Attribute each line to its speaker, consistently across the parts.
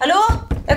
Speaker 1: Hallo? Jeg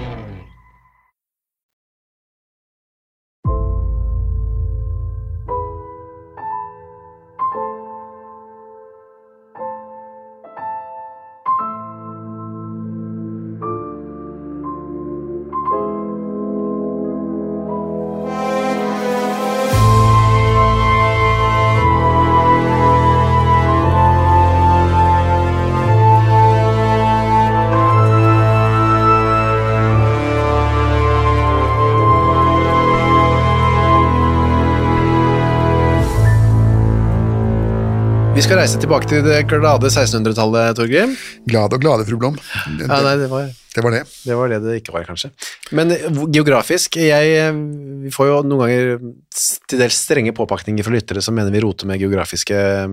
Speaker 2: Vi skal reise tilbake til det glade 1600-tallet, Torgrim.
Speaker 3: Glad og glade, fru Blom. Det,
Speaker 2: Ja, nei, det var,
Speaker 3: det var det.
Speaker 2: det var det det ikke var, kanskje. Men eh, hvor- geografisk, jeg, eh, vi får jo noen ganger s- til dels strenge påpakninger fra lyttere som mener vi roter med geografiske eh,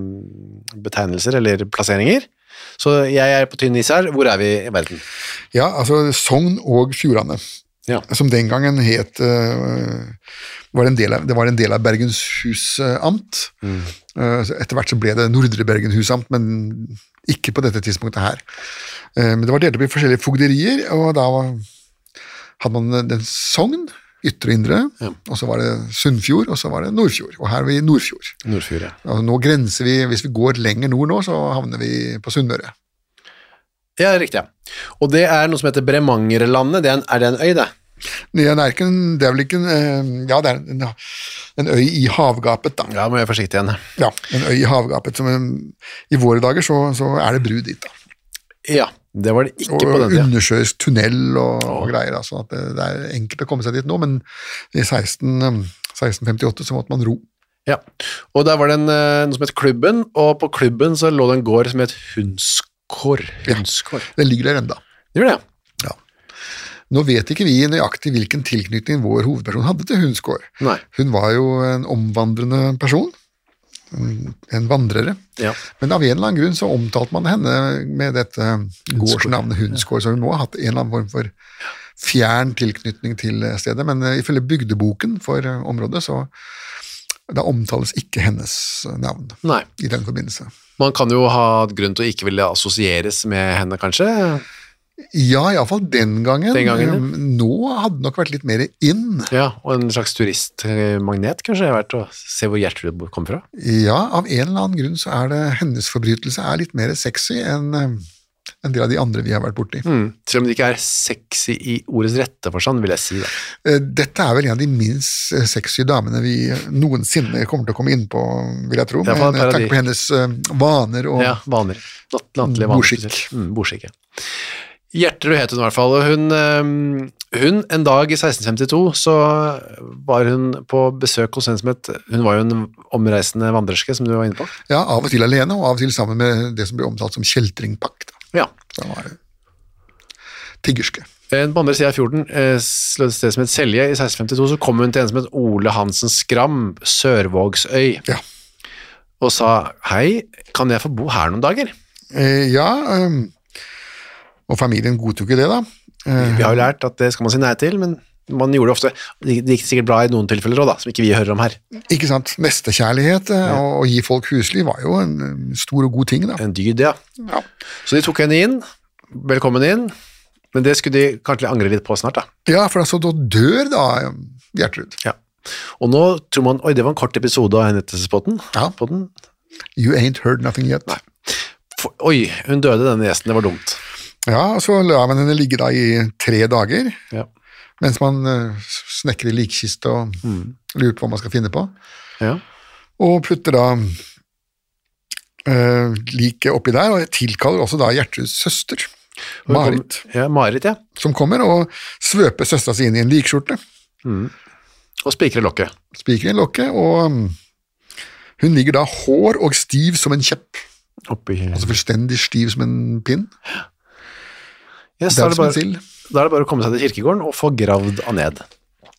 Speaker 2: betegnelser eller plasseringer. Så jeg er på tynn is her. Hvor er vi i verden?
Speaker 3: Ja, altså Sogn og Fjordane,
Speaker 2: Ja.
Speaker 3: som den gangen het eh, var en del av, Det var en del av Bergenshus eh, amt. Eh, så etter hvert så ble det Nordre Bergenhus amt, men ikke på dette tidspunktet her. Eh, men det var delt opp i forskjellige fogderier, og da var, hadde man den Sogn, ytre og indre, og så var det Sunnfjord, og så var det Nordfjord. Og her er vi i Nordfjord.
Speaker 2: Nordfjord, ja.
Speaker 3: Og nå grenser vi, Hvis vi går lenger nord nå, så havner vi på Sunnmøre.
Speaker 2: Ja, riktig. ja. Og det er noe som heter Bremangerlandet. Det er, en, er det en øy, det?
Speaker 3: Nye Nerken, det er vel ikke en eh, Ja, det er en, en øy i havgapet, da.
Speaker 2: Ja, må jeg være forsiktig igjen.
Speaker 3: Ja, en øy i havgapet. Som en- I våre dager så, så er det bru dit, da.
Speaker 2: Ja, det var det ikke
Speaker 3: Og
Speaker 2: på den tida.
Speaker 3: undersjøisk tunnel og, og greier. da, sånn at det, det er enkelt å komme seg dit nå, men i 16, eh, 1658 så måtte man ro.
Speaker 2: Ja. Og der var det en, eh, noe som het Klubben, og på Klubben så lå det en gård som het Hundskår. Hundskår.
Speaker 3: Den ligger der enda.
Speaker 2: Det gjorde det,
Speaker 3: Nå vet ikke vi nøyaktig hvilken tilknytning vår hovedperson hadde til Hundskår.
Speaker 2: Nei.
Speaker 3: Hun var jo en omvandrende person. En en vandrere.
Speaker 2: ja.
Speaker 3: Men av en eller annen grunn så omtalte man henne med dette gårdsnavnet Hundskår, så hun må ha hatt en eller annen form for fjern tilknytning til stedet. Men eh, ifølge bygdeboken for eh, området, så da omtales ikke hennes eh, navn
Speaker 2: Nei.
Speaker 3: i den forbindelse.
Speaker 2: Man kan jo ha grunn til å ikke ville assosieres med henne, kanskje.
Speaker 3: Ja, iallfall den gangen.
Speaker 2: Den gangen, ja.
Speaker 3: Eh, Nå hadde det nok vært litt mer inn.
Speaker 2: Ja, Og en slags turistmagnet, kanskje. Jeg har vært å se hvor Gjertrud kom fra.
Speaker 3: Ja, av en eller annen grunn så er det hennes forbrytelse er litt mer sexy enn eh, en del av de andre vi har vært borti.
Speaker 2: Mm. Selv om det ikke er sexy i ordets rette forstand, vil jeg si. Da.
Speaker 3: Eh, Dette er vel en av de minst eh, sexy damene vi eh, noensinne kommer til å komme inn på, vil jeg tro.
Speaker 2: Det er
Speaker 3: Med
Speaker 2: fra et
Speaker 3: tanke
Speaker 2: paradis.
Speaker 3: på hennes eh, vaner og
Speaker 2: Ja, vaner. Natt, nattlige vaner.
Speaker 3: Bordskikk.
Speaker 2: spesielt. Mm, bordskikk, ja. Gjertrud het hun i hvert fall, og hun, ehm, hun En dag i 1652 så var hun på besøk hos en som het Hun var jo en omreisende vandrerske, som du var inne på.
Speaker 3: Ja, av og til alene, og av og til sammen med det som ble omtalt som kjeltringpakt. da.
Speaker 2: Ja.
Speaker 3: Så han var tiggerske.
Speaker 2: Eh, På andre siden av fjorden, eh, s- et sted som het Selje, i 1652 så kom hun til en som het Ole Hansen Skram, Sørvågsøy,
Speaker 3: Ja.
Speaker 2: og sa hei, kan jeg få bo her noen dager?
Speaker 3: Eh, ja, ehm, og familien godtok jo det, da. Eh,
Speaker 2: Vi har jo lært at det skal man si nei til, men man gjorde det ofte. Det det gikk sikkert bra i noen tilfeller òg, som ikke vi hører om her.
Speaker 3: Ikke sant. Nestekjærlighet eh, og å gi folk husly var jo en eh, stor og god ting, da.
Speaker 2: En dyd, ja.
Speaker 3: Ja.
Speaker 2: Så de tok henne inn. Velkommen inn. Men det skulle de kanskje angre litt på snart, da.
Speaker 3: Ja, for altså, da dør da eh, Gjertrud.
Speaker 2: Og nå tror man Oi, det var en kort episode av Henrettelsesbåten.
Speaker 3: Ja.
Speaker 2: Podden.
Speaker 3: You ain't heard nothing yet.
Speaker 2: For- Oi, hun døde, denne gjesten. Det var dumt.
Speaker 3: Ja, og så la man henne ligge da i tre dager.
Speaker 2: Ja.
Speaker 3: Mens man eh, snekrer likkiste og lurer på hva man skal finne på.
Speaker 2: Ja.
Speaker 3: Og putter da uh, liket oppi der, og jeg tilkaller også da Gjertruds søster,
Speaker 2: Og hun kom-
Speaker 3: Marit,
Speaker 2: Ja, Marit, ja.
Speaker 3: som kommer og svøper søstera si inn i en likskjorte.
Speaker 2: Og spikre lokket.
Speaker 3: Spiker inn lokket, og mm, hun ligger da hår og stiv som en kjepp.
Speaker 2: Oppi
Speaker 3: Altså fullstendig stiv som en pinn.
Speaker 2: yes, da, Altså, er
Speaker 3: Det er
Speaker 2: det
Speaker 3: som en
Speaker 2: bare,
Speaker 3: sild.
Speaker 2: da er det bare å komme seg til kirkegården og få gravd han ned.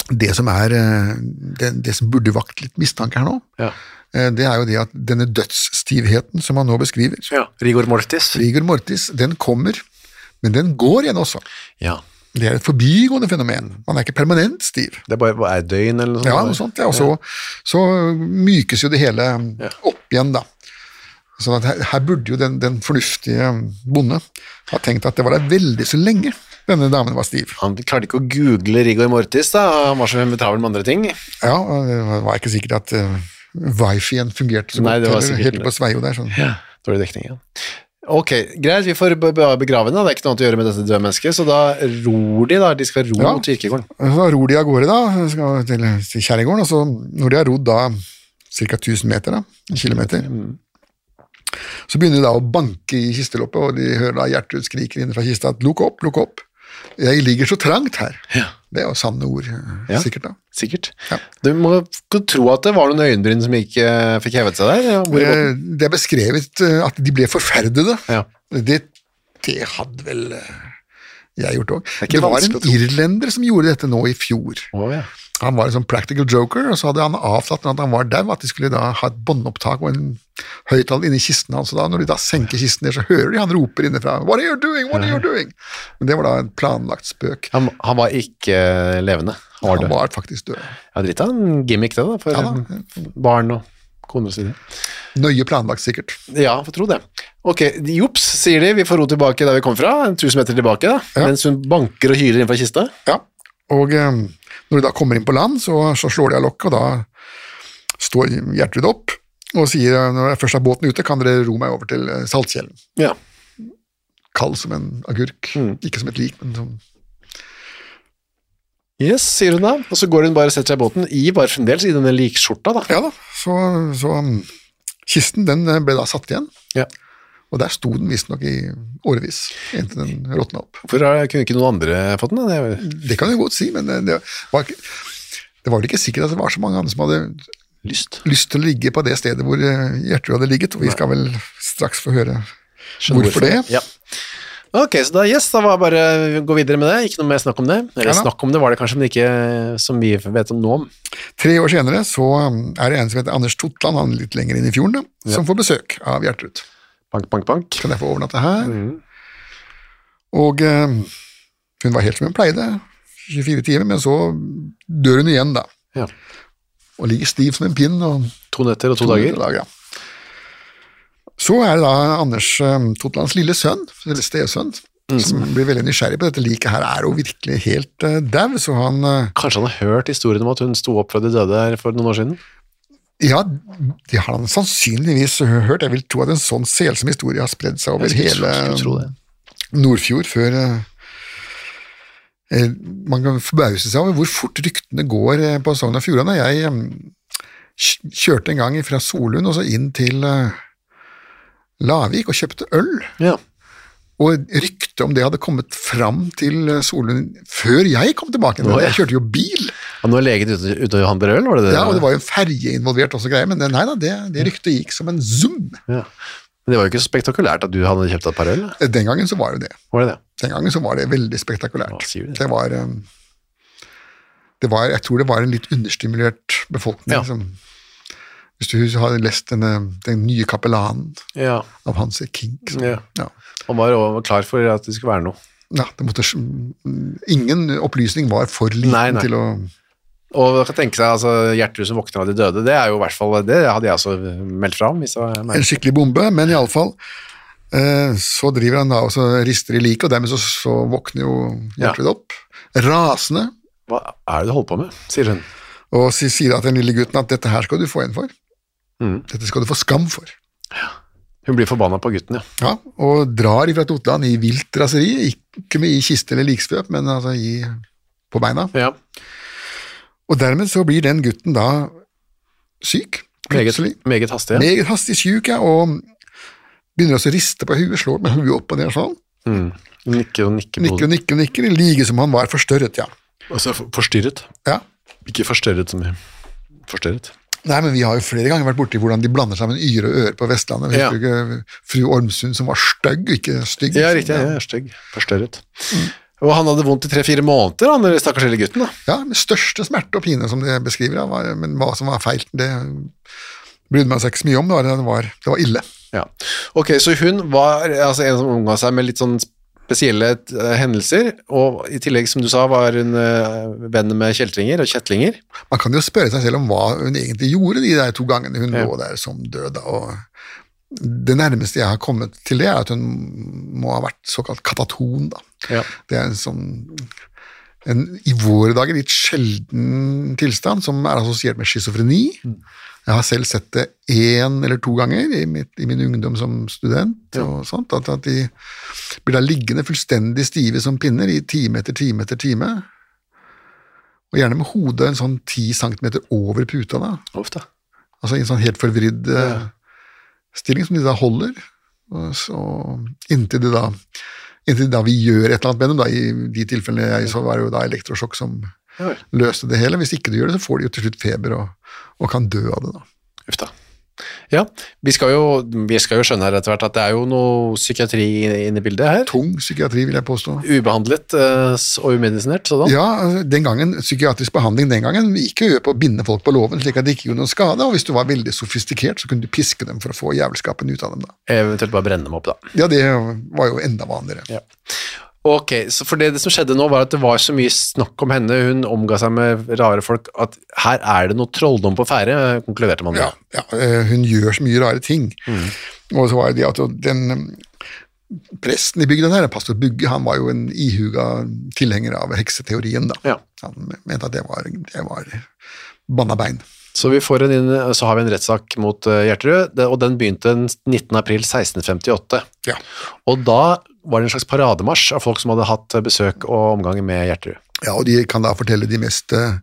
Speaker 3: Det som er eh, det, det som burde vakt litt mistanke her nå,
Speaker 2: Ja.
Speaker 3: eh, det er jo det at denne dødsstivheten som han nå beskriver,
Speaker 2: Rigor mortis.
Speaker 3: Rigor mortis, den kommer, men den går igjen også.
Speaker 2: Ja.
Speaker 3: Det er et forbigående fenomen. Man er ikke permanent stiv.
Speaker 2: Det er bare hva er det, døgn eller noe sånt.
Speaker 3: Ja, noe sånt. Ja, og så, så mykes jo det hele opp igjen, da. Sånn at her, her burde jo den, den fornuftige bonde ha tenkt at det var da veldig så lenge denne damen var stiv.
Speaker 2: Han klarte ikke å google rigor mortis, da. Han var så travel med andre ting.
Speaker 3: Ja, og det var ikke sikkert at uh, wifi-en fungerte så
Speaker 2: Nei, det
Speaker 3: godt.
Speaker 2: var
Speaker 3: eller
Speaker 2: sikkert
Speaker 3: Helt
Speaker 2: ikke.
Speaker 3: på sveio der, sånn.
Speaker 2: Dårlig dekning, ja. Ok, greit, vi får be- be- begrave henne. da. Det er ikke noe annet å gjøre med dette døde mennesket, så da ror de, da. De skal ro
Speaker 3: Ja.
Speaker 2: til kirkegården.
Speaker 3: Så ror de av gårde da, skal til, til Kjerregården, og så når de har rodd da ca. 1000 meter, da, en kilometer, så begynner de da å banke i kisteloppet, og de hører da Gjertrud skriker inn fra kista at lukk opp, lukk opp, jeg ligger så trangt her. Det er jo sanne ord, eh,
Speaker 2: Ja.
Speaker 3: sikkert da.
Speaker 2: Sikkert.
Speaker 3: Ja.
Speaker 2: Du må ikke tro at det var noen øyenbryn som ikke eh, fikk hevet seg der. ja, hvor i
Speaker 3: Det,
Speaker 2: båten.
Speaker 3: Eh, det er beskrevet eh, at de ble forferdede.
Speaker 2: Ja.
Speaker 3: Det, det hadde vel eh, jeg gjort òg.
Speaker 2: er ikke
Speaker 3: Det var
Speaker 2: vanskelig å
Speaker 3: en
Speaker 2: tro.
Speaker 3: irlender som gjorde dette nå i fjor.
Speaker 2: Å, ja.
Speaker 3: Han var en sånn practical joker, og så hadde han avtalt når han var dau, at de skulle da ha et båndopptak og en høyttaler inni kisten hans. Og da, når de da senker kisten der, så hører de han roper innenfra 'What are you doing? What are you doing?' Men det var da en planlagt spøk.
Speaker 2: han, han var ikke eh, levende. Han var
Speaker 3: Han
Speaker 2: død.
Speaker 3: var faktisk død.
Speaker 2: Ja, dritt av en gimmick det, da, for
Speaker 3: Ja, da.
Speaker 2: eh, barn og koner og så videre.
Speaker 3: Nøye planlagt, sikkert.
Speaker 2: Ja, får tro det. Ok, jops, sier de. Vi får ro tilbake der vi kom fra, 1000 meter tilbake, da.
Speaker 3: Ja.
Speaker 2: mens hun banker og hyler innenfor kista.
Speaker 3: Ja, og eh, når de da kommer inn på land, så, så slår de av lokket, og da står Gjertrud opp og sier eh, når jeg først har båten ute, kan dere ro meg over til eh, Saltkjellen.
Speaker 2: Ja.
Speaker 3: Kald som en agurk.
Speaker 2: Mm.
Speaker 3: Ikke som et lik, men som
Speaker 2: Yes, sier hun da, og så går hun bare og setter seg i båten, i bare fremdeles i denne likskjorta, da.
Speaker 3: Ja da, så, så mm, kisten den eh, ble da satt igjen,
Speaker 2: Ja.
Speaker 3: og der sto den visstnok i årevis, inntil den råtna opp.
Speaker 2: For eh, kunne ikke noen andre fått den? da? Det er jo
Speaker 3: Det kan jeg godt si, men eh, det var, ikke, det var vel ikke sikkert at det var så mange andre som hadde
Speaker 2: lyst.
Speaker 3: lyst til å ligge på det stedet hvor eh, Gjertrud hadde ligget, og vi skal vel straks få høre
Speaker 2: Skjønner
Speaker 3: hvorfor det.
Speaker 2: Ja. Ok, så da, yes, da var det bare å gå videre med det. Ikke noe mer snakk om det. Eller
Speaker 3: Ja da.
Speaker 2: snakk om det var det kanskje, men ikke som vi vet om nå om.
Speaker 3: Tre år senere så mm, er det en som heter Anders Totland, han litt lenger inn i fjorden, da, som får besøk av Gjertrud.
Speaker 2: Bank, bank, bank.
Speaker 3: Kan jeg få overnatte her?
Speaker 2: Mm.
Speaker 3: Og eh, hun var helt som hun pleide, 24 timer, men så dør hun igjen, da.
Speaker 2: Ja.
Speaker 3: Og ligger stiv som en pinn. og
Speaker 2: To netter og to dager.
Speaker 3: ja. Så er det da Anders eh, Totlands lille sønn, eller stesønn,
Speaker 2: Mm.
Speaker 3: som blir veldig nysgjerrig på dette liket her, er jo virkelig helt uh, dau, så han eh,
Speaker 2: Kanskje han har hørt historien om at hun sto opp fra de døde her for noen år siden?
Speaker 3: Ja, det har han sannsynligvis hørt. Jeg vil tro at en sånn selsom historie har spredd seg over
Speaker 2: Jeg skulle
Speaker 3: hele
Speaker 2: tro- skulle tro det.
Speaker 3: Nordfjord før eh, eh, Man kan forbause seg over hvor fort ryktene går eh, på Sogn og Fjordane. Jeg eh, kj- kjørte en gang fra Solund og så inn til eh, Lavik og kjøpte øl,
Speaker 2: Ja.
Speaker 3: og ryktet om det hadde kommet fram til eh, Solund før jeg kom tilbake.
Speaker 2: Å, ja.
Speaker 3: Jeg kjørte jo bil,
Speaker 2: Og nå er legen ute, ute og handler øl, var det det?
Speaker 3: ja, og det var jo en ferge involvert også, greier, men eh, nei da, det, det ryktet gikk som en zoom.
Speaker 2: Ja. Men det var jo ikke så spektakulært at du hadde kjøpt et par øl. da.
Speaker 3: Eh, Den gangen så var det det.
Speaker 2: Var det det?
Speaker 3: Den gangen så var det veldig spektakulært.
Speaker 2: Hva sier du?
Speaker 3: Det var, um, det var Jeg tror det var en litt understimulert befolkning
Speaker 2: Ja.
Speaker 3: som Hvis du har lest denne, den nye kapellanen
Speaker 2: Ja.
Speaker 3: av Hanse Kink så,
Speaker 2: Ja.
Speaker 3: ja.
Speaker 2: Han var jo klar for at det skulle være noe.
Speaker 3: Ja, det måtte, Ingen opplysning var for liten
Speaker 2: Nei, nei.
Speaker 3: til å
Speaker 2: Og man kan tenke seg, altså, Gjertrud som våkner av de døde, det er jo i hvert fall det hadde jeg også eh, meldt fra om. hvis det var meg.
Speaker 3: En skikkelig bombe, men iallfall eh, så driver han da og så rister i liket, og dermed så, så våkner jo
Speaker 2: Ja.
Speaker 3: Gjertrud opp. Rasende.
Speaker 2: Hva er det du holder på med, sier hun.
Speaker 3: Og si- sier da til den lille gutten at dette her skal du få igjen for.
Speaker 2: Mm.
Speaker 3: Dette skal du få skam for.
Speaker 2: Hun blir forbanna på gutten, ja.
Speaker 3: Ja, og drar ifra Totland i vilt raseri, ikke med i kiste eller likspøp, men altså i på beina.
Speaker 2: Ja.
Speaker 3: Og dermed så blir den gutten da syk,
Speaker 2: Meget,
Speaker 3: plutselig.
Speaker 2: meget hastig. Ja.
Speaker 3: Meget hastig syk, ja, og begynner også å riste på huet, slår med huet opp og ned sånn.
Speaker 2: Mm. Nikker og nikker. på
Speaker 3: Nikker og
Speaker 2: hodet.
Speaker 3: nikker og nikker, i like som han var forstørret, ja.
Speaker 2: Altså for- forstyrret.
Speaker 3: ja.
Speaker 2: Ikke forstørret så mye. Forstørret.
Speaker 3: Nei, men Vi har jo flere ganger vært borti hvordan de blander sammen yre og øre på Vestlandet.
Speaker 2: Ja.
Speaker 3: Husker du ikke Fru Ormsund som var stygg, og ikke stygg.
Speaker 2: Ja, riktig. Ja, jeg er stygg. Forstørret. Og han hadde vondt i tre-fire måneder, han den stakkars lille gutten. da.
Speaker 3: Ja, med største smerte og pine, som de beskriver. da, var- Men hva som var feil, det brydde man seg ikke så mye om. Det var, det var, det var ille.
Speaker 2: Ja. Ok, så hun var altså, en som omga seg med litt sånn spesielle eh, hendelser, og i tillegg, som du sa, var hun eh, venn med kjeltringer og kjetlinger.
Speaker 3: Man kan jo spørre seg selv om hva hun egentlig gjorde de der to gangene hun
Speaker 2: Ja.
Speaker 3: lå der som død. da, og Det nærmeste jeg har kommet til det, er at hun må ha vært såkalt kataton. da.
Speaker 2: Ja.
Speaker 3: Det er en sånn en, i våre dager litt sjelden tilstand som er assosiert med schizofreni. Jeg har selv sett det én eller to ganger i, mitt, i min ungdom som student. og sånt, at, at de blir da liggende fullstendig stive som pinner i time etter time etter time. Og gjerne med hodet en sånn ti centimeter over puta, da.
Speaker 2: Ofte.
Speaker 3: Altså i en sånn helt forvridd eh, stilling som de da holder, og så inntil de da inntil da vi gjør et eller annet med dem, da, i de tilfellene jeg så var det jo da elektrosjokk som
Speaker 2: Ja vel.
Speaker 3: løste det hele. Hvis ikke du gjør det, så får de jo til slutt feber og, og kan dø av det. da.
Speaker 2: Uff da. Ja, vi skal, jo, vi skal jo skjønne her etter hvert at det er jo noe psykiatri inne i bildet her.
Speaker 3: Tung psykiatri, vil jeg påstå.
Speaker 2: Ubehandlet eh, og umedisinert, sådan.
Speaker 3: Ja, altså, den gangen, Psykiatrisk behandling den gangen gikk jo på å binde folk på låven slik at de ikke gjorde noen skade, og hvis du var veldig sofistikert, så kunne du piske dem for å få jævelskapen ut av dem. da.
Speaker 2: Eventuelt bare brenne dem opp, da.
Speaker 3: Ja, det var jo enda vanligere.
Speaker 2: Ok, så for det, det som skjedde nå var at det var så mye snakk om henne, hun omga seg med rare folk, at her er det noe trolldom på ferde, konkluderte man. med.
Speaker 3: Ja, ja, eh, hun gjør så mye rare ting.
Speaker 2: Mm.
Speaker 3: Og så var det at den eh, presten i bygda der, pastor Bugge, han var jo en ihuga tilhenger av hekseteorien, da.
Speaker 2: Ja.
Speaker 3: Han mente at det var, det var banna bein.
Speaker 2: Så, vi får en inn, så har vi en rettssak mot eh, Gjertrud, det- og den begynte den 19. april 1658.
Speaker 3: Ja.
Speaker 2: Og da var det en slags parademarsj av folk som hadde hatt eh, besøk og omgang med Gjertrud.
Speaker 3: ja, og de kan da fortelle de mest eh,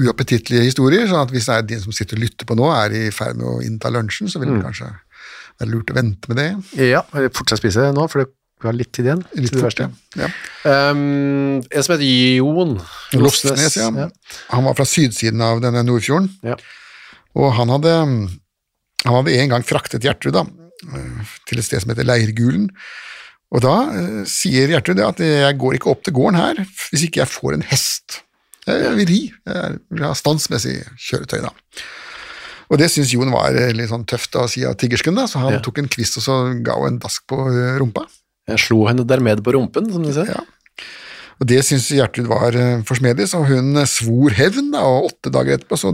Speaker 3: uappetittlige historier, sånn at hvis det er de som sitter og lytter på nå, er i ferd med å innta lunsjen, så vil
Speaker 2: Mm.
Speaker 3: det kanskje være lurt å vente med det.
Speaker 2: Ja, fortsatt spise nå, for det vi har litt tid igjen. til
Speaker 3: Litt
Speaker 2: det
Speaker 3: fort,
Speaker 2: verste.
Speaker 3: ja. ja.
Speaker 2: Um, en som heter Jon
Speaker 3: Lofsnes, ja. Han var fra sydsiden av denne Nordfjorden.
Speaker 2: Ja.
Speaker 3: Og han hadde, han hadde en gang fraktet Gjertrud da, eh, til et sted som heter Leirgulen. Og da eh, sier Gjertrud det at jeg går ikke opp til gården her hvis ikke jeg får en hest. Jeg vil ri. Jeg vil ha standsmessig kjøretøy, da. Og det syntes Jon var eh, litt sånn tøft å si av tiggersken, da, så han
Speaker 2: Ja.
Speaker 3: tok en kvist og så ga hun en dask på eh, rumpa.
Speaker 2: Jeg slo henne dermed på rumpen, som de sier.
Speaker 3: Ja. Og Det syntes Gjertrud var eh, forsmedelig, så hun eh, svor hevn, da, og åtte dager etterpå så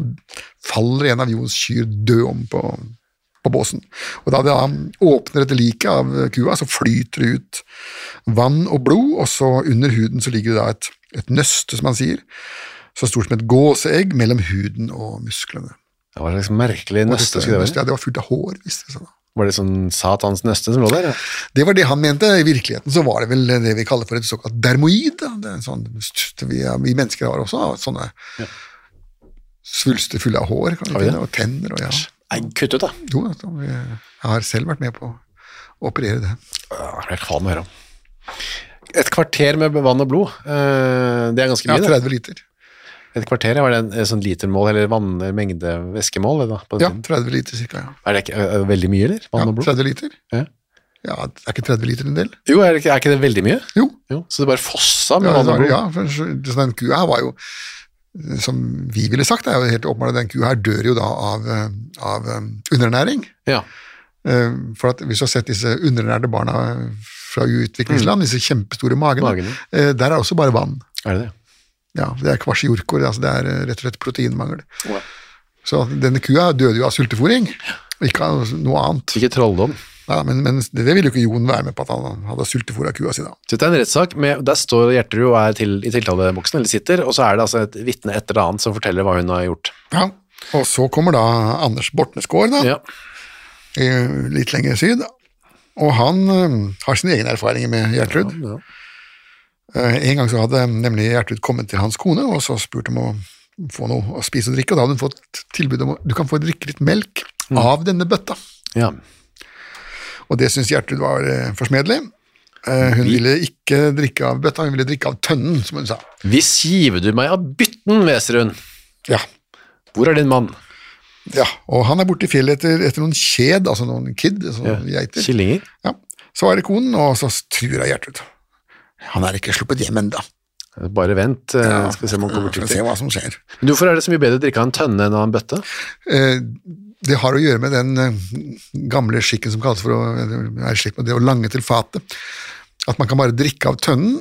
Speaker 3: faller en av Jons kyr død om på, på båsen. Og Da det da åpner etter liket av eh, kua, så flyter det ut vann og blod, og så under huden så ligger det da et, et nøste, som han sier, så stort som et gåseegg mellom huden og musklene.
Speaker 2: Det var en slags merkelig nøste, skulle det
Speaker 3: Nøstet,
Speaker 2: være.
Speaker 3: ja, det var fullt av hår, visste det seg da.
Speaker 2: Var det sånn satans nøste som lå der? Ja?
Speaker 3: Det var det han mente. I virkeligheten så var det vel det vi kaller for et såkalt dermoid. da. Det er en sånn, vi, er- vi mennesker har også sånne svulster fulle av hår kan vi
Speaker 2: Har vi
Speaker 3: finne,
Speaker 2: det?
Speaker 3: og tenner. Og, ja.
Speaker 2: Nei, kutt ut, da.
Speaker 3: Jo, altså, vi- jeg har selv vært med på å operere det. Ah,
Speaker 2: Jeg ble kvalm av å høre om. Et kvarter med vann og blod, eh, det er ganske
Speaker 3: Ja,
Speaker 2: mye. det.
Speaker 3: 30 liter.
Speaker 2: Et kvarter, ja, var det en, en sånn litermål, eller vannmengde væskemål? Da, på den
Speaker 3: Ja,
Speaker 2: tiden?
Speaker 3: 30 liter cirka. Ja.
Speaker 2: Er det ikke er det veldig mye, eller?
Speaker 3: Ja,
Speaker 2: Vann og blod?
Speaker 3: 30 liter?
Speaker 2: Ja.
Speaker 3: Ja, Er ikke 30 liter en del?
Speaker 2: Jo, er det, ikke, er ikke det veldig mye?
Speaker 3: Jo.
Speaker 2: Jo, så det bare fossa med
Speaker 3: Ja, det
Speaker 2: vann og
Speaker 3: var,
Speaker 2: blod?
Speaker 3: ja for så- den kua her var jo Som vi ville sagt, det er jo helt åpenbart at den kua her dør jo da av, eh, av eh, underernæring.
Speaker 2: Ja.
Speaker 3: Eh, For at hvis du har sett disse underernærte barna fra utviklingsland, disse kjempestore magene,
Speaker 2: Mm. Magene.
Speaker 3: eh, der er det også bare vann.
Speaker 2: Er det det?
Speaker 3: Ja, det er kvasjorkor, altså det er eh, rett og slett proteinmangel. Så denne kua døde jo av sultefòring, ikke av noe annet.
Speaker 2: Ikke trolldom.
Speaker 3: Ja, men, men det ville jo ikke Jon være med på, at han hadde sultefòra kua si da.
Speaker 2: Så Dette er en rettssak, med, der står Gjertrud og er til, i tiltaleboksen, eller sitter, og så er det altså et vitne etter det annet som forteller hva hun har gjort.
Speaker 3: Ja. Og så kommer da Anders Bortnesgaard, da,
Speaker 2: Ja,
Speaker 3: eh, litt lenger syd. Og han eh, har sine egne erfaringer med Gjertrud.
Speaker 2: ja.
Speaker 3: Eh, En gang så hadde nemlig Gjertrud kommet til hans kone og så spurt om å få noe å spise og drikke, og da hadde hun fått tilbud om å du kan få drikke litt melk av denne bøtta.
Speaker 2: Ja.
Speaker 3: Og det syntes Gjertrud var eh, forsmedelig. Eh, Hun ville ikke drikke av bøtta, hun ville drikke av tønnen, som hun sa.
Speaker 2: Hvis giver du meg av bytten, hveser hun.
Speaker 3: Ja,
Speaker 2: Hvor er din mann?
Speaker 3: ja. Og han er borte i fjellet etter, etter noen kjed, altså noen kid, altså noen geiter.
Speaker 2: Killinger?
Speaker 3: Ja. Så er det konen, og så truer hun Gjertrud. Han er ikke sluppet hjem ennå.
Speaker 2: Bare vent, eh, skal vi se om han kommer
Speaker 3: Skal
Speaker 2: til
Speaker 3: vi
Speaker 2: det.
Speaker 3: se hva som skjer.
Speaker 2: Men Hvorfor er det så mye bedre å drikke av en tønne enn av en bøtte?
Speaker 3: Eh, Det har å gjøre med den eh, gamle skikken som kalles for å, er slik med det å lange til fatet. At man kan bare drikke av tønnen,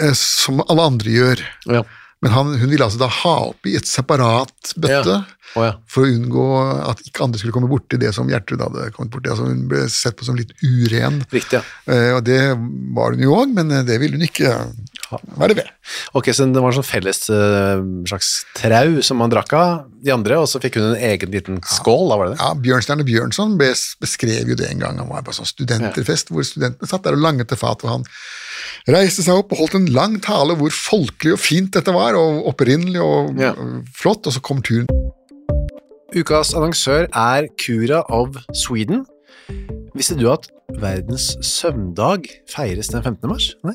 Speaker 3: eh, som alle andre gjør.
Speaker 2: Ja.
Speaker 3: Men han, hun ville altså da ha oppi et separat bøtte.
Speaker 2: Ja. Å, ja.
Speaker 3: For å unngå at ikke andre skulle komme borti det som Gjertrud hadde kommet borti. Altså hun ble sett på som litt uren,
Speaker 2: Riktig, ja.
Speaker 3: Eh, og det var hun jo òg, men eh, det ville hun ikke være ved.
Speaker 2: Ok, så det var en sånn felles eh, slags trau som man drakk av de andre, og så fikk hun en egen liten skål, da var det det?
Speaker 3: Ja, Bjørnstjerne Bjørnson ble- beskrev jo det en gang. Han var på sånn studenterfest hvor studentene satt der og langet til fat, og han reiste seg opp og holdt en lang tale hvor folkelig og fint dette var, og opprinnelig og
Speaker 2: Ja.
Speaker 3: og flott, og så kom turen.
Speaker 2: Ukas annonsør er Cura of Sweden. Visste du at verdens søvndag feires den 15. mars? Nei.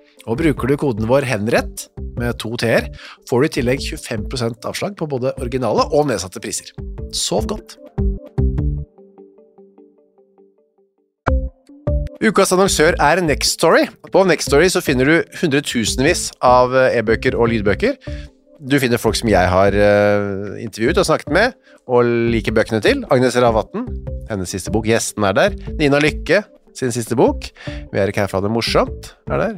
Speaker 2: Og bruker du koden vår HENRETT med to t-er, får du i tillegg 25 avslag på både originale og nedsatte priser. Sov godt! Ukas annonsør er Nextory. På Nextory så finner du hundretusenvis av eh, e-bøker og lydbøker. Du finner folk som jeg har eh, intervjuet og snakket med, og liker bøkene til. Agnes Ravatn, hennes siste bok. Gjesten er der. Nina Lykke, sin siste bok. Vi er ikke her for å ha det morsomt. er der.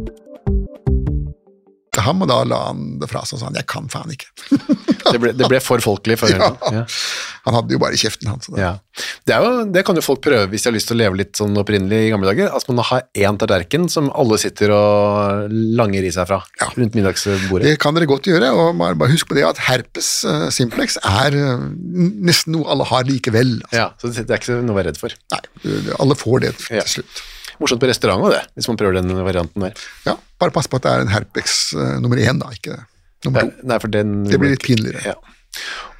Speaker 3: til ham, og da la han det fra seg og sa han, jeg kan faen ikke.
Speaker 2: Det ble, det ble for folkelig for høyden.
Speaker 3: Han hadde jo bare kjeften, han. Så det.
Speaker 2: Ja. Det, er jo, det kan jo folk prøve hvis de har lyst til å leve litt sånn opprinnelig i gamle dager. At man har én tallerken som alle sitter og langer i seg fra rundt middagsbordet.
Speaker 3: det kan dere godt gjøre, og bare bare husk på det at herpes eh, simplex er eh, nesten noe alle har likevel. Altså,
Speaker 2: Ja, så det er ikke noe å være redd for.
Speaker 3: Nei, eh, alle får det til
Speaker 2: Ja.
Speaker 3: slutt.
Speaker 2: Morsomt på restaurant også det, hvis man prøver den varianten der.
Speaker 3: Ja, bare pass på at det er en herpes eh, nummer én, da, ikke nummer
Speaker 2: Nei,
Speaker 3: to.
Speaker 2: nei, for den
Speaker 3: Det blir litt pinligere.
Speaker 2: Ja.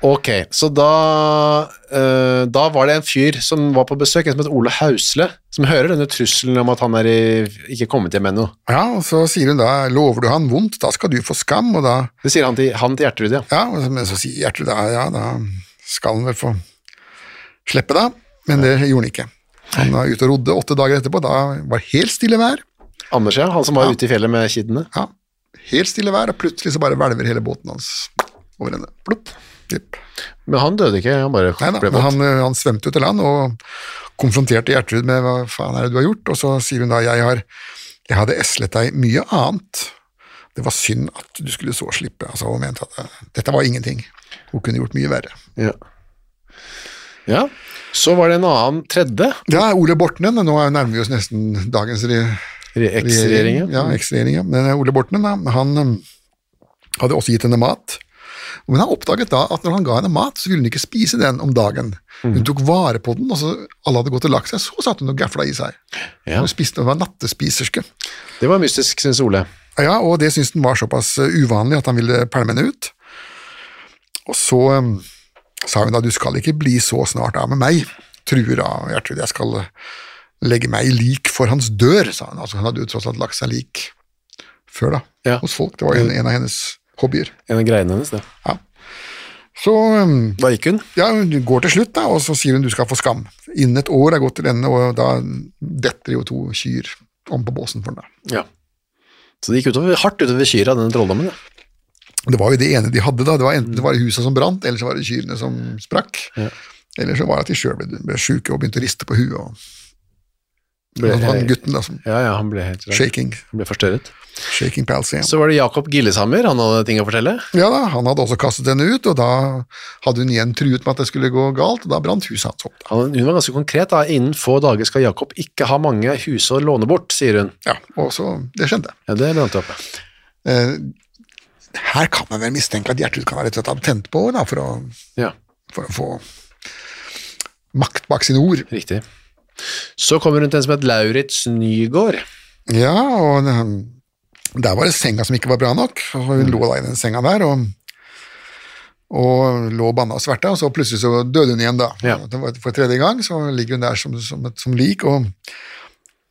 Speaker 2: Ok, så da, eh, da var det en fyr som var på besøk, en som het Ole Hausle, som hører denne trusselen om at han er i, ikke kommet hjem ennå.
Speaker 3: Ja, og så sier hun da, lover du han vondt, da skal du få skam, og da,
Speaker 2: Det sier han til, han til Gjertrud, ja.
Speaker 3: ja, og så- men så sier Gjertrud da, ja, da skal han vel få slippe, da. Men det gjorde han ikke. Han var ute og rodde åtte dager etterpå. Da var det helt stille vær.
Speaker 2: Anders, ja. Han som var ute i fjellet med kiddene.
Speaker 3: Ja, helt stille vær, og plutselig så bare hvelver hele båten hans over henne. Plopp. Jipp.
Speaker 2: Men han døde ikke, han bare
Speaker 3: Nei da,
Speaker 2: ble
Speaker 3: men
Speaker 2: våt.
Speaker 3: han, ø, han svømte jo til land og konfronterte Gjertrud med hva faen er det du har gjort, og så sier hun da jeg har jeg hadde eslet deg mye annet. Det var synd at du skulle så slippe. Altså, hun mente at ø, dette var ingenting. Hun kunne gjort mye verre.
Speaker 2: Ja. ja. Så var det en annen tredje
Speaker 3: Ja, Ole Bortnen, nå nærmer vi oss nesten dagens re-
Speaker 2: eh, eks-regjering.
Speaker 3: Ja, eks-regjering, ja. Men eh, Ole Bortnen, da, han um, hadde også gitt henne mat. Men han oppdaget da at når han ga henne mat, så ville hun ikke spise den om dagen. Hun tok vare på den, og så alle hadde gått og lagt seg, så satt hun og gafla i seg.
Speaker 2: Ja.
Speaker 3: Hun spiste, hun var nattespiserske.
Speaker 2: Det var mystisk, syns Ole.
Speaker 3: Ja, og det syntes han var såpass uh, uvanlig at han ville pælme henne ut. Og så um, sa hun da, du skal ikke bli så snart av med meg, truer da Gjertrud, jeg skal uh, legge meg i lik for hans dør, sa hun. Altså, hun hadde jo tross alt lagt seg lik før da,
Speaker 2: Ja.
Speaker 3: hos folk, det var en, en av hennes hobbyer.
Speaker 2: En av greiene hennes, det.
Speaker 3: Så um,
Speaker 2: Da gikk hun.
Speaker 3: ja, hun går til slutt da, og så sier hun du skal få skam. Innen et år er gått til ende, og da detter jo to kyr om på båsen for henne.
Speaker 2: Ja. Så det gikk utover, hardt utover kyra, denne trolldommen. ja.
Speaker 3: Det var jo det ene de hadde, da. Det var enten det var husa som brant, eller så var det kyrne som sprakk. Eller så var det at de sjøl ble, ble sjuke og begynte å riste på huet. Og,
Speaker 2: Ble-
Speaker 3: og han gutten, da, som
Speaker 2: Ja, ja, han ble helt redd.
Speaker 3: shaking,
Speaker 2: Han ble forstørret.
Speaker 3: shaking palsy. Ja.
Speaker 2: Så var det Jakob Gilleshammer, han hadde ting å fortelle.
Speaker 3: ja da, han hadde også kastet henne ut, og da hadde hun igjen truet med at det skulle gå galt, og da brant huset hans opp. Da.
Speaker 2: Han, hun var ganske konkret da. Innen få dager skal Jakob ikke ha mange hus å låne bort, sier hun.
Speaker 3: Ja, og så, Det skjedde.
Speaker 2: Ja, det brant opp.
Speaker 3: Eh, her kan man vel mistenke at Gjertrud kan være litt tent på da, for, å,
Speaker 2: Ja,
Speaker 3: for å få makt bak sine ord.
Speaker 2: riktig. Så kommer hun til en som heter Lauritz Nygaard.
Speaker 3: Ja, og eh, der var det senga som ikke var bra nok, og hun lå da i den senga der, og, og lå og banna og sverta, og så plutselig så døde hun igjen da.
Speaker 2: Ja.
Speaker 3: Det var For tredje gang så ligger hun der som, som, et, som lik, og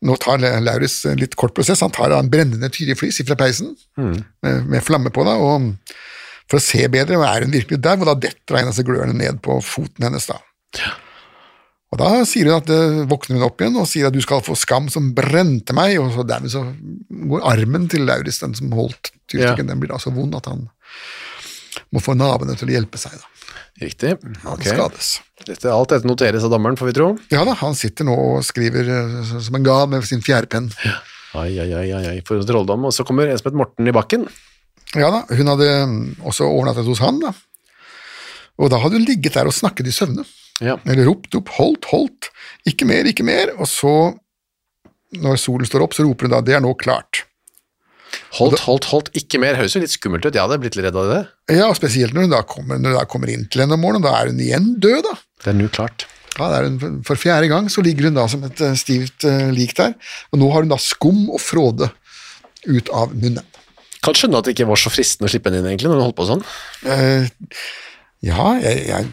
Speaker 3: nå tar Le- Lauritz en litt kort prosess, han tar da en brennende tyriflis fra peisen, med, med flamme på da, og for å se bedre, er hun virkelig der, og da detter en av disse glørne ned på foten hennes da. Og da sier hun at, eh, våkner hun opp igjen og sier at du skal få skam som brente meg, og så dermed så går armen til Lauris, den som holdt tyrstikken, den blir da så vond at han må få naboene til å hjelpe seg. da.
Speaker 2: Riktig.
Speaker 3: Han
Speaker 2: Ok.
Speaker 3: skades.
Speaker 2: Dette, alt dette noteres av dommeren, får vi tro.
Speaker 3: Ja da, han sitter nå og skriver eh, s- som en gal med sin fjærpenn.
Speaker 2: Ai, ai, ai, ai, ai, for en trolldom. Og så kommer en som heter Morten i bakken.
Speaker 3: Ja da, hun hadde mm, også overnattet hos han, da. Og da hadde hun ligget der og snakket i søvne.
Speaker 2: Ja.
Speaker 3: Eller ropt opp 'holdt, holdt', ikke mer, ikke mer, og så, når solen står opp, så roper hun da 'det er nå klart'.
Speaker 2: Holdt, holdt, holdt, ikke mer. Høres jo litt skummelt ut. Jeg hadde blitt litt redd av det.
Speaker 3: Ja, og spesielt når hun da kommer, når hun da kommer inn til henne om morgenen, da er hun igjen død, da.
Speaker 2: Det er nå klart.
Speaker 3: Ja, det er hun for- For fjerde gang så ligger hun da som et eh, stivt eh, lik der, og nå har hun da skum og fråde ut av munnen.
Speaker 2: Kan skjønne at det ikke var så fristende å slippe henne inn, egentlig, når hun holdt på sånn.
Speaker 3: Eh, ja, jeg, jeg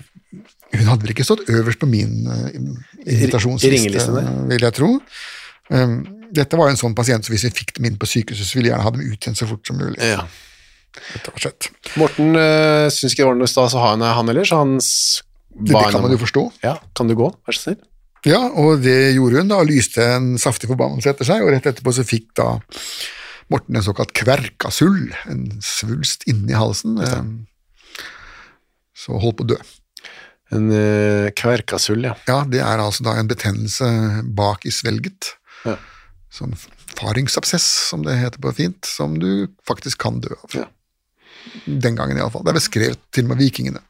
Speaker 3: Hun hadde vel ikke stått øverst på min eh,
Speaker 2: I ringelisten
Speaker 3: invitasjonsliste,
Speaker 2: der.
Speaker 3: vil jeg tro. Um, dette var jo en sånn pasient, så hvis vi fikk dem inn på sykehuset, så ville jeg gjerne ha dem ut igjen så fort som mulig. rett og slett.
Speaker 2: Morten øh, syns ikke det var noe stas å ha henne, han heller, så han s-
Speaker 3: Det,
Speaker 2: ba henne
Speaker 3: det kan
Speaker 2: om-
Speaker 3: man jo forstå.
Speaker 2: Ja, kan du gå, vær så snill?
Speaker 3: Ja, og det gjorde hun da, og lyste en saftig forbannelse etter seg, og rett etterpå så fikk da Morten en såkalt kverkasull, en svulst inni halsen, eh, så holdt på å dø.
Speaker 2: En øh, kverkasull, ja.
Speaker 3: Ja, det er altså da en betennelse bak i svelget,
Speaker 2: Ja.
Speaker 3: sånn faringsabsess, som det heter på fint, som du faktisk kan dø av.
Speaker 2: Ja.
Speaker 3: Den gangen iallfall. Det er beskrevet til og med vikingene.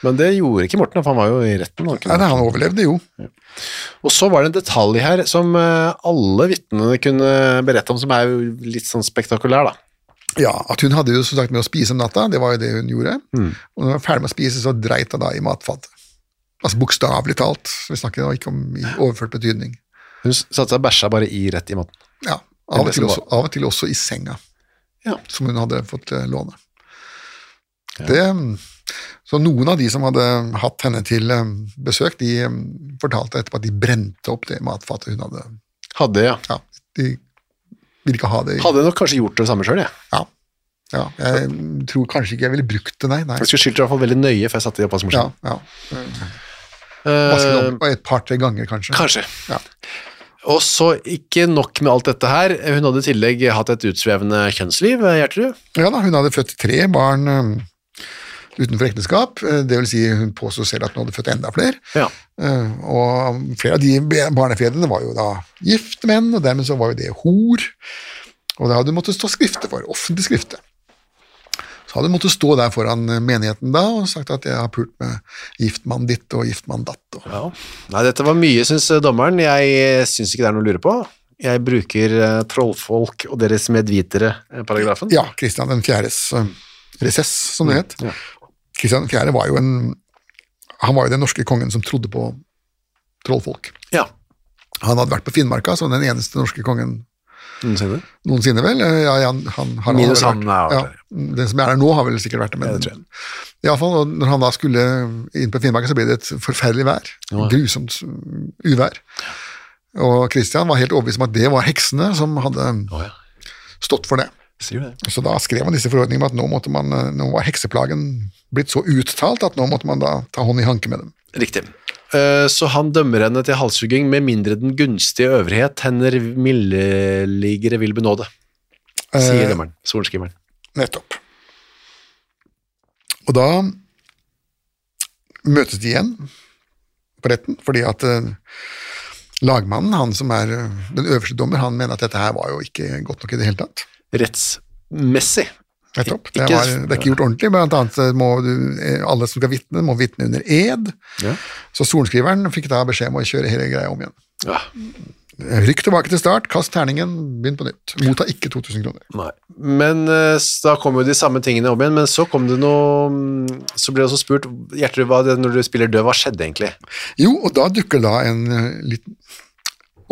Speaker 2: Men det gjorde ikke Morten, for han var jo i retten. han
Speaker 3: Nei,
Speaker 2: kunne-
Speaker 3: nei, han overlevde jo.
Speaker 2: Og så var det en detalj her som øh, alle vitnene kunne berette om, som er jo litt sånn spektakulær, da.
Speaker 3: Ja, at hun hadde jo som sagt med å spise om natta, det var jo det hun gjorde. Og når hun var ferdig med å spise, så dreit hun da i matfatet. Altså bokstavelig talt, vi snakker da ikke om i overført betydning.
Speaker 2: Hun s- satte seg og bæsja bare i rett i maten.
Speaker 3: Ja, av og,
Speaker 2: Det som
Speaker 3: til
Speaker 2: var-
Speaker 3: også, av og til også i senga,
Speaker 2: Ja.
Speaker 3: som hun hadde fått eh, låne. Det, så noen av de som hadde hatt henne til eh, besøk, de eh, fortalte etterpå at de brente opp det matfatet hun hadde.
Speaker 2: Hadde, ja.
Speaker 3: Ja, de ville ikke ha det. i-
Speaker 2: Hadde nok kanskje gjort det samme sjøl, jeg.
Speaker 3: Ja. Ja, jeg tror kanskje ikke jeg ville brukt det, nei. nei.
Speaker 2: Jeg skulle skylt det i hvert fall veldig nøye før jeg satte det i
Speaker 3: Ja,
Speaker 2: oppvaskmaskinen.
Speaker 3: ja. Vaske det
Speaker 2: Eh,
Speaker 3: opp et par-tre ganger, kanskje.
Speaker 2: kanskje.
Speaker 3: Ja.
Speaker 2: Og så ikke nok med alt dette her. Hun hadde i tillegg hatt et utsvevende kjønnsliv, eh, Gjertrud.
Speaker 3: Ja da, hun hadde født tre barn øhm, utenfor ekteskap, eh, det vil si hun påstod selv at hun hadde født enda flere,
Speaker 2: Ja.
Speaker 3: Eh, og flere av de be- barnefedrene var jo da gifte menn, og dermed så var jo det hor, og det hadde hun måttet stå skrifte for, offentlig skrifte. Så hadde hun måttet stå der foran eh, menigheten da, og sagt at jeg har pult med giftmann ditt og giftmann datt. Og.
Speaker 2: Nei, dette var mye, syns dommeren. Jeg syns ikke det er noe å lure på. Jeg bruker eh, trollfolk og deres eh, medvitere-paragrafen.
Speaker 3: Ja, Kristian den fjerdes eh, resess, som det het. Kristian den fjerde var jo en Han var jo den norske kongen som trodde på trollfolk.
Speaker 2: ja.
Speaker 3: Han hadde vært på Finnmarka som den eneste norske kongen
Speaker 2: Noensinne.
Speaker 3: noensinne, vel. Eh, Ja, han, han, han,
Speaker 2: Minus
Speaker 3: har
Speaker 2: han er
Speaker 3: vel vært-
Speaker 2: jo
Speaker 3: ja, Den som er der nå, har vel sikkert vært det, men
Speaker 2: Ja, det tror jeg.
Speaker 3: iallfall når han da skulle inn på Finnmarka, så ble det et forferdelig vær. Grusomt mm, uvær. Og Kristian var helt overbevist om at det var heksene som hadde
Speaker 2: Å ja.
Speaker 3: stått for det.
Speaker 2: Sier du det?
Speaker 3: Så da skrev man disse forordningene om at nå, måtte man, eh, nå var hekseplagen blitt så uttalt at nå måtte man da ta hånd i hanke med dem.
Speaker 2: Riktig. Eh, Så han dømmer henne til halshugging med mindre den gunstige øvrighet hender mildligere vil benåde, sier
Speaker 3: Eh,
Speaker 2: dommeren. Sorenskriveren.
Speaker 3: nettopp. Og da møtes de igjen på retten, fordi at eh, lagmannen, han som er eh, den øverste dommer, han mener at dette her var jo ikke godt nok i det hele tatt.
Speaker 2: Rettsmessig.
Speaker 3: Nettopp.
Speaker 2: Ikke-
Speaker 3: Det, var, det er ikke gjort ordentlig, blant annet eh, må du, eh, alle som skal vitne, må vitne under ed.
Speaker 2: Ja.
Speaker 3: Så sorenskriveren fikk da beskjed om å kjøre hele greia om igjen.
Speaker 2: Ja,
Speaker 3: Rykk tilbake til start, kast terningen, begynn på nytt. Motta ikke 2000 kroner.
Speaker 2: nei. Men eh, s- da kom jo de samme tingene om igjen, men så kom det noe mm, Så ble det også spurt Gjertrud, hva det, når du spiller død, hva skjedde egentlig?
Speaker 3: Jo, og da dukker da en eh, litt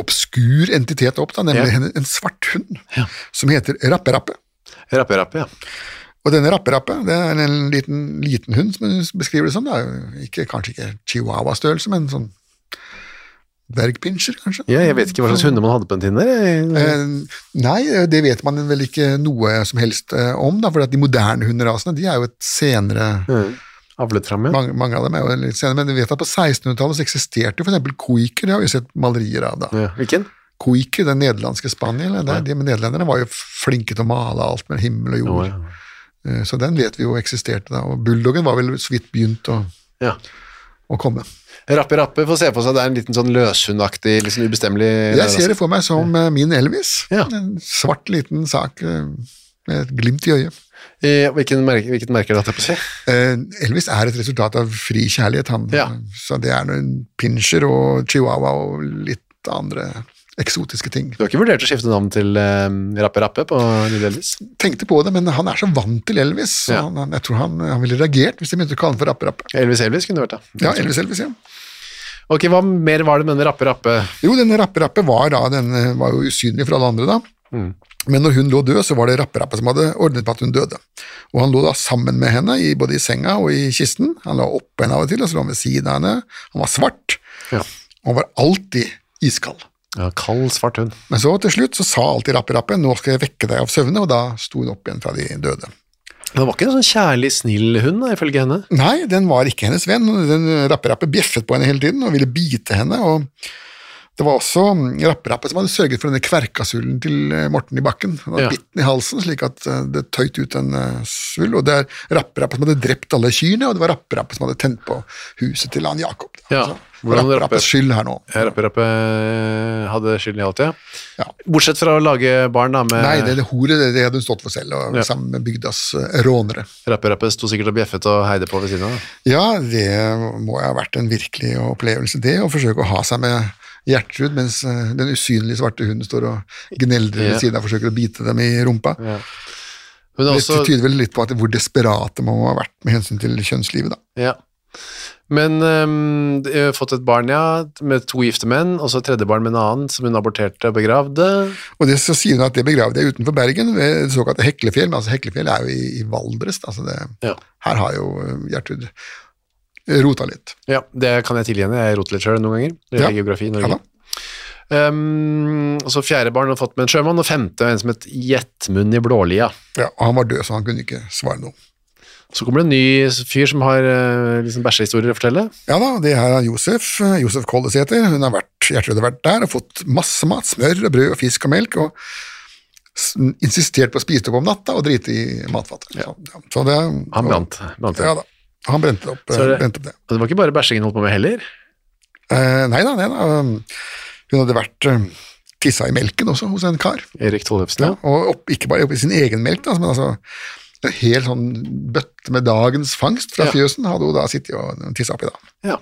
Speaker 3: obskur entitet opp, da, nemlig
Speaker 2: Ja.
Speaker 3: en, en svart hund som heter Rappe-Rappe.
Speaker 2: Rappe, rappe, ja.
Speaker 3: Og denne Rappe-Rappe det er en liten, liten hund, som hun beskriver det som. Da. Ikke, kanskje ikke chihuahua-størrelse, men sånn dvergpinsjer, kanskje.
Speaker 2: ja. Jeg vet ikke hva slags hunder man hadde på den tiden der. jeg.
Speaker 3: Eh, Nei, eh, det vet man vel ikke noe som helst eh, om, da, for at de moderne hunderasene de er jo et senere
Speaker 2: Avlet fram, ja.
Speaker 3: Mange, mange av dem er jo litt senere, men vi vet at på 1600-tallet så eksisterte jo f.eks. koiker, det har vi sett malerier av da.
Speaker 2: ja. Hvilken?
Speaker 3: Koiker, den nederlandske spanielen, der, de nederlenderne var jo flinke til å male alt med himmel og jord,
Speaker 2: Å, ja.
Speaker 3: Eh, så den vet vi jo eksisterte da, og bulldoggen var vel så vidt begynt å,
Speaker 2: ja.
Speaker 3: å komme.
Speaker 2: Rappe, rappe, får se for seg det er en liten sånn løshundaktig, liksom ubestemmelig altså.
Speaker 3: Jeg ser det for meg som eh, min Elvis,
Speaker 2: Ja.
Speaker 3: en svart liten sak eh, med et glimt i øyet.
Speaker 2: I- Hvilken merke, hvilket merke er det, holdt jeg på å si?
Speaker 3: Eh, Elvis er et resultat av fri kjærlighet, han.
Speaker 2: Ja.
Speaker 3: Så det er noen pinsjer og chihuahua og litt andre eksotiske ting.
Speaker 2: Du har ikke vurdert å skifte navn til eh, Rappe Rappe på Lille Elvis?
Speaker 3: tenkte på det, men han er så vant til Elvis, så
Speaker 2: Ja.
Speaker 3: han, han- jeg tror han, han ville reagert hvis de begynte å kalle han for Rappe Rappe.
Speaker 2: Elvis Elvis kunne det vært, da.
Speaker 3: Ja, Elvis Elvis, ja.
Speaker 2: Ok, Hva mer var det med den Rappe Rappe?
Speaker 3: Jo, denne Rappe Rappe var, da, den eh, var jo usynlig for alle andre da, men når hun lå død, så var det Rappe Rappe som hadde ordnet på at hun døde. Og han lå da sammen med henne, i, både i senga og i kisten. Han la oppå henne av og til, og så lå han ved siden av henne. Han var svart,
Speaker 2: Ja.
Speaker 3: og han var alltid iskald.
Speaker 2: Ja, Kald, svart hund.
Speaker 3: Men så til slutt så sa alltid Rappe Rappe, nå skal jeg vekke deg av søvne, og da sto hun opp igjen fra de døde.
Speaker 2: Det var ikke en sånn kjærlig, snill hund, da, ifølge henne?
Speaker 3: Nei, den var ikke hennes venn. Den rappe-rappe bjeffet på henne hele tiden og ville bite henne. og Det var også rappe-rappe som hadde sørget for denne kverkasullen til eh, Morten i bakken. Han hadde
Speaker 2: Ja.
Speaker 3: bitt den i halsen slik at eh, det tøyt ut en eh, svull. Og det er rappe-rappe som hadde drept alle kyrne, og det var rappe-rappe som hadde tent på huset til han Jakob. da.
Speaker 2: Ja,
Speaker 3: Så
Speaker 2: hvordan Rappe-
Speaker 3: Rappe-rappes skyld her nå.
Speaker 2: Ja, Eh, Rappe Rappe hadde skylden i alt, ja.
Speaker 3: Ja.
Speaker 2: Bortsett fra å lage barn, da, med
Speaker 3: Nei, det, det horet det, det hadde hun stått for selv, og
Speaker 2: Eh. Ja.
Speaker 3: sammen med bygdas eh, rånere.
Speaker 2: Rappe Rappe sto sikkert og bjeffet og heide på ved siden av. da.
Speaker 3: Ja, det må ha vært en virkelig opplevelse, det, å forsøke å ha seg med Gjertrud mens eh, den usynlige svarte hunden står og gneldrer ved
Speaker 2: Ja.
Speaker 3: siden av og forsøker å bite dem i rumpa.
Speaker 2: Hun er
Speaker 3: Det
Speaker 2: også
Speaker 3: tyder vel litt på at hvor desperate man må ha vært med hensyn til kjønnslivet, da.
Speaker 2: Ja. Men ehm, de har fått et barn, ja, med to gifte menn, og så et tredje barn med en annen, som hun aborterte og begravde.
Speaker 3: Og det så sier hun at det begravde jeg utenfor Bergen, ved det såkalte Heklefjell. Men altså Heklefjell er jo i, i Valdres, da, så det,
Speaker 2: Ja.
Speaker 3: her har jo eh, Gjertrud rota litt.
Speaker 2: Ja, det kan jeg tilgi henne. Jeg roter litt sjøl noen ganger. når Det
Speaker 3: Ja.
Speaker 2: gjelder geografi i
Speaker 3: Ja
Speaker 2: Norge.
Speaker 3: da.
Speaker 2: Um, og så fjerde barn har fått med en sjømann, og femte er en som het Gjettmunn i blålia.
Speaker 3: Ja, og han var død, så han kunne ikke svare noe.
Speaker 2: Så kommer det en ny fyr som har eh, liksom bæsjehistorier å fortelle.
Speaker 3: Ja da, det her er Josef. eh, Josef Kolles heter. Hun har vært, hjertelig vært der og fått masse mat. Smør og brød og fisk og melk. og s- insistert på å spise det opp om natta og drite i matfatet. Så, ja. så det,
Speaker 2: Han brant. brant.
Speaker 3: Ja da, han brente det opp,
Speaker 2: Så er
Speaker 3: det,
Speaker 2: det-
Speaker 3: brente opp det.
Speaker 2: Og det var ikke bare bæsjingen holdt på med heller.
Speaker 3: Eh, nei da, nei da. um, Hun hadde vært um, tissa i melken også hos en kar.
Speaker 2: Erik Tollefsen, ja.
Speaker 3: Og opp, ikke bare opp i sin egen melk, da, men altså en hel sånn bøtte med dagens fangst fra
Speaker 2: Ja.
Speaker 3: fjøsen hadde hun da sittet og tissa oppi da.
Speaker 2: ja.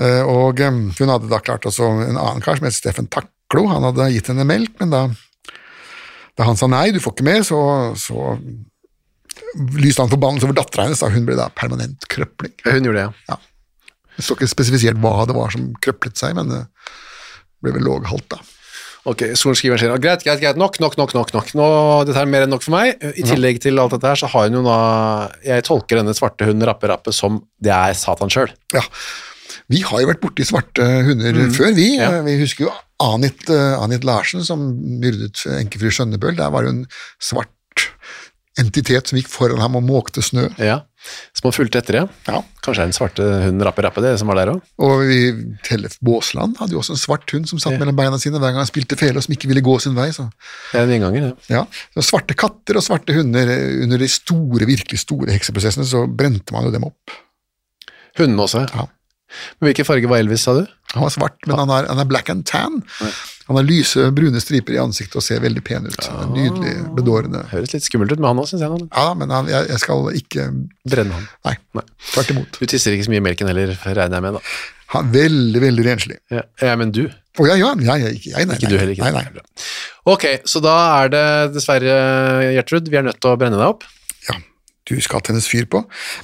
Speaker 3: Eh, Og eh, hun hadde da klart også en annen kar som het Steffen Taklo, han hadde gitt henne melk, men da, da han sa nei, du får ikke mer, så, så lyste han forbannelse over dattera hennes, da hun ble da permanent krøpling.
Speaker 2: Hun gjorde det, ja.
Speaker 3: Det står ikke spesifisert hva det var som krøplet seg, men det ble vel låghalt, da.
Speaker 2: Ok, sorenskriveren sier greit, greit, greit, nok, nok, nok, nok, nok. Nå, dette er mer enn nok for meg. I tillegg til alt dette her, så har hun jo da Jeg tolker denne svarte hunden Rappe Rappe som det er Satan sjøl.
Speaker 3: Ja. Vi har jo vært borti svarte hunder før, vi.
Speaker 2: Ja.
Speaker 3: Eh, Vi husker jo Anit, eh, Anit Larsen som myrdet enkefru Skjønnebøl. Der var jo en svart entitet som gikk foran ham og måkte snø.
Speaker 2: Ja. Som har fulgt etter, ja.
Speaker 3: Ja.
Speaker 2: Kanskje det er den svarte hunden Rappe Rappe, det som var der òg.
Speaker 3: Og vi, Tellef Baasland hadde jo også en svart hund som satt mellom beina sine hver gang han spilte fele, og som ikke ville gå sin vei. Så.
Speaker 2: Det er en gjenganger, det.
Speaker 3: Ja. så svarte katter og svarte hunder eh, under de store, virkelig store hekseprosessene, så brente man jo dem opp.
Speaker 2: Hundene også.
Speaker 3: Ja.
Speaker 2: Men Hvilken farge var Elvis, sa du?
Speaker 3: Han var svart, men han er, han er black and tan. Han har lyse, brune striper i ansiktet og ser veldig pen ut.
Speaker 2: Ah.
Speaker 3: Nydelig, bedårende.
Speaker 2: Høres litt skummelt ut med han òg, syns jeg. nå.
Speaker 3: Ja, men han, jeg, jeg skal ikke
Speaker 2: Brenne han.
Speaker 3: Nei,
Speaker 2: Nei.
Speaker 3: tvert imot.
Speaker 2: Du tisser ikke så mye i melken heller, regner jeg med, da.
Speaker 3: Han er veldig, veldig renslig.
Speaker 2: Ja, ja men du?
Speaker 3: Å ja, ja, ja, ja, ikke jeg, nei,
Speaker 2: Ikke
Speaker 3: nei,
Speaker 2: du heller? Ikke.
Speaker 3: Nei, nei.
Speaker 2: Ok, så da er det dessverre, Gjertrud, vi er nødt til å brenne deg opp.
Speaker 3: Ja, du skal tennes fyr på.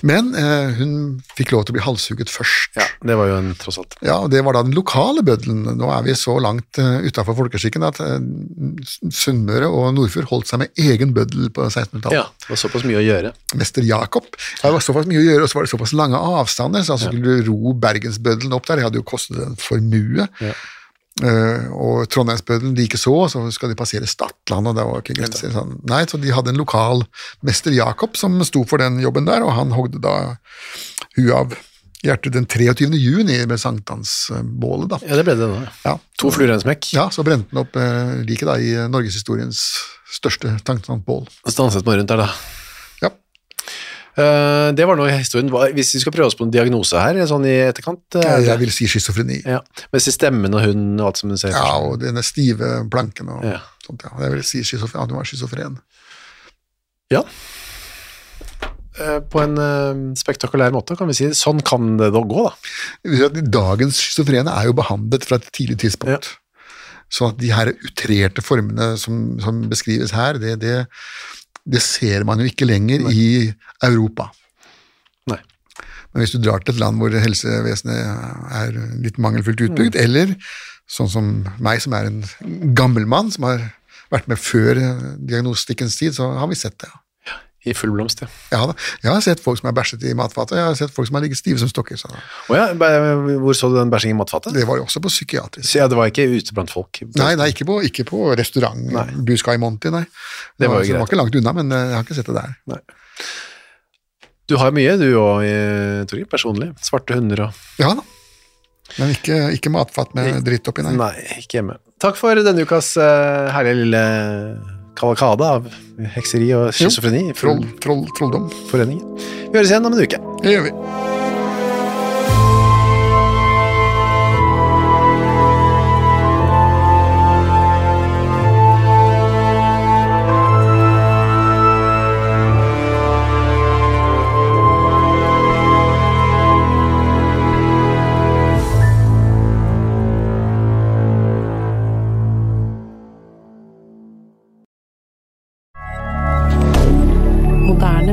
Speaker 3: Men eh, hun fikk lov til å bli halshugget først.
Speaker 2: Ja, det var jo en tross alt.
Speaker 3: Ja, og Det var da den lokale bøddelen. Nå er vi så langt uh, utafor folkeskikken at eh, Sunnmøre og Nordfjord holdt seg med egen bøddel på 1600-tallet.
Speaker 2: Ja, det var såpass mye å gjøre.
Speaker 3: Mester Jakob. Ja, Det var såpass mye å gjøre, og så var det såpass lange avstander, så altså skulle du ro Bergensbøddelen opp der, det hadde jo kostet en formue. Eh, og Trondheimsbøddelen likeså, og så skal de passere Stadland, og det var ikke grenser. Sånn. Nei, så de hadde en lokal mester Jakob som sto for den jobben der, og han hogde da huet av hjertet den 23. juni ved sankthansbålet, da.
Speaker 2: Ja, det ble det nå. ja.
Speaker 3: Ja.
Speaker 2: To fluer i en smekk.
Speaker 3: Ja, så brente han opp eh, liket da i eh, norgeshistoriens største sankthansbål.
Speaker 2: Stanset man rundt der, da.
Speaker 3: Ja.
Speaker 2: Eh, det var nå historien. Hva- Hvis vi skal prøve oss på en diagnose her, sånn i etterkant eh,
Speaker 3: Jeg vil si schizofreni.
Speaker 2: ja. Mens i stemmen og hunden og alt som hun ser.
Speaker 3: Ja, og denne stive planken og
Speaker 2: Ja.
Speaker 3: sånt. Ja. Jeg vil si schizofren, at hun var schizofren.
Speaker 2: Eh, på en eh, spektakulær måte, kan vi si. Sånn kan det da gå, da.
Speaker 3: Det vil si at Dagens schizofrene er jo behandlet fra et tidlig tidspunkt. Sånn at de her utrerte formene som, som beskrives her, det, det, det ser man jo ikke lenger i Europa.
Speaker 2: Nei.
Speaker 3: Men hvis du drar til et land hvor helsevesenet er litt mangelfullt utbygd, eller sånn som meg som er en gammel mann som har vært med før eh, diagnostikkens tid, så har vi sett det. ja.
Speaker 2: I full blomst, ja.
Speaker 3: Ja da. Jeg har sett folk som har bæsjet i matfatet, og jeg har sett folk som har ligget stive som stokker. Så
Speaker 2: Å ja, bæ- hvor så du den bæsjingen i matfatet?
Speaker 3: det var jo også på psykiatrisk.
Speaker 2: Så, ja, det var ikke ute blant folk.
Speaker 3: Nei, nei, ikke på, ikke på restaurant.
Speaker 2: Nei.
Speaker 3: Bu Sky Monty, nei.
Speaker 2: Det var jo
Speaker 3: altså-
Speaker 2: greit.
Speaker 3: var ikke langt unna, men eh, jeg har ikke sett det der.
Speaker 2: Du har mye, du òg, Torgeir, personlig. Svarte hunder og
Speaker 3: Ja da. Men ikke, ikke matfat med dritt oppi, nei.
Speaker 2: Nei, ikke hjemme. Takk for denne ukas eh, herlige lille kavalkade av hekseri og schizofreni. i
Speaker 3: Troll, troll, trolldom.
Speaker 2: Foreningen. Vi høres igjen om en uke.
Speaker 3: Det gjør vi.
Speaker 4: Moderne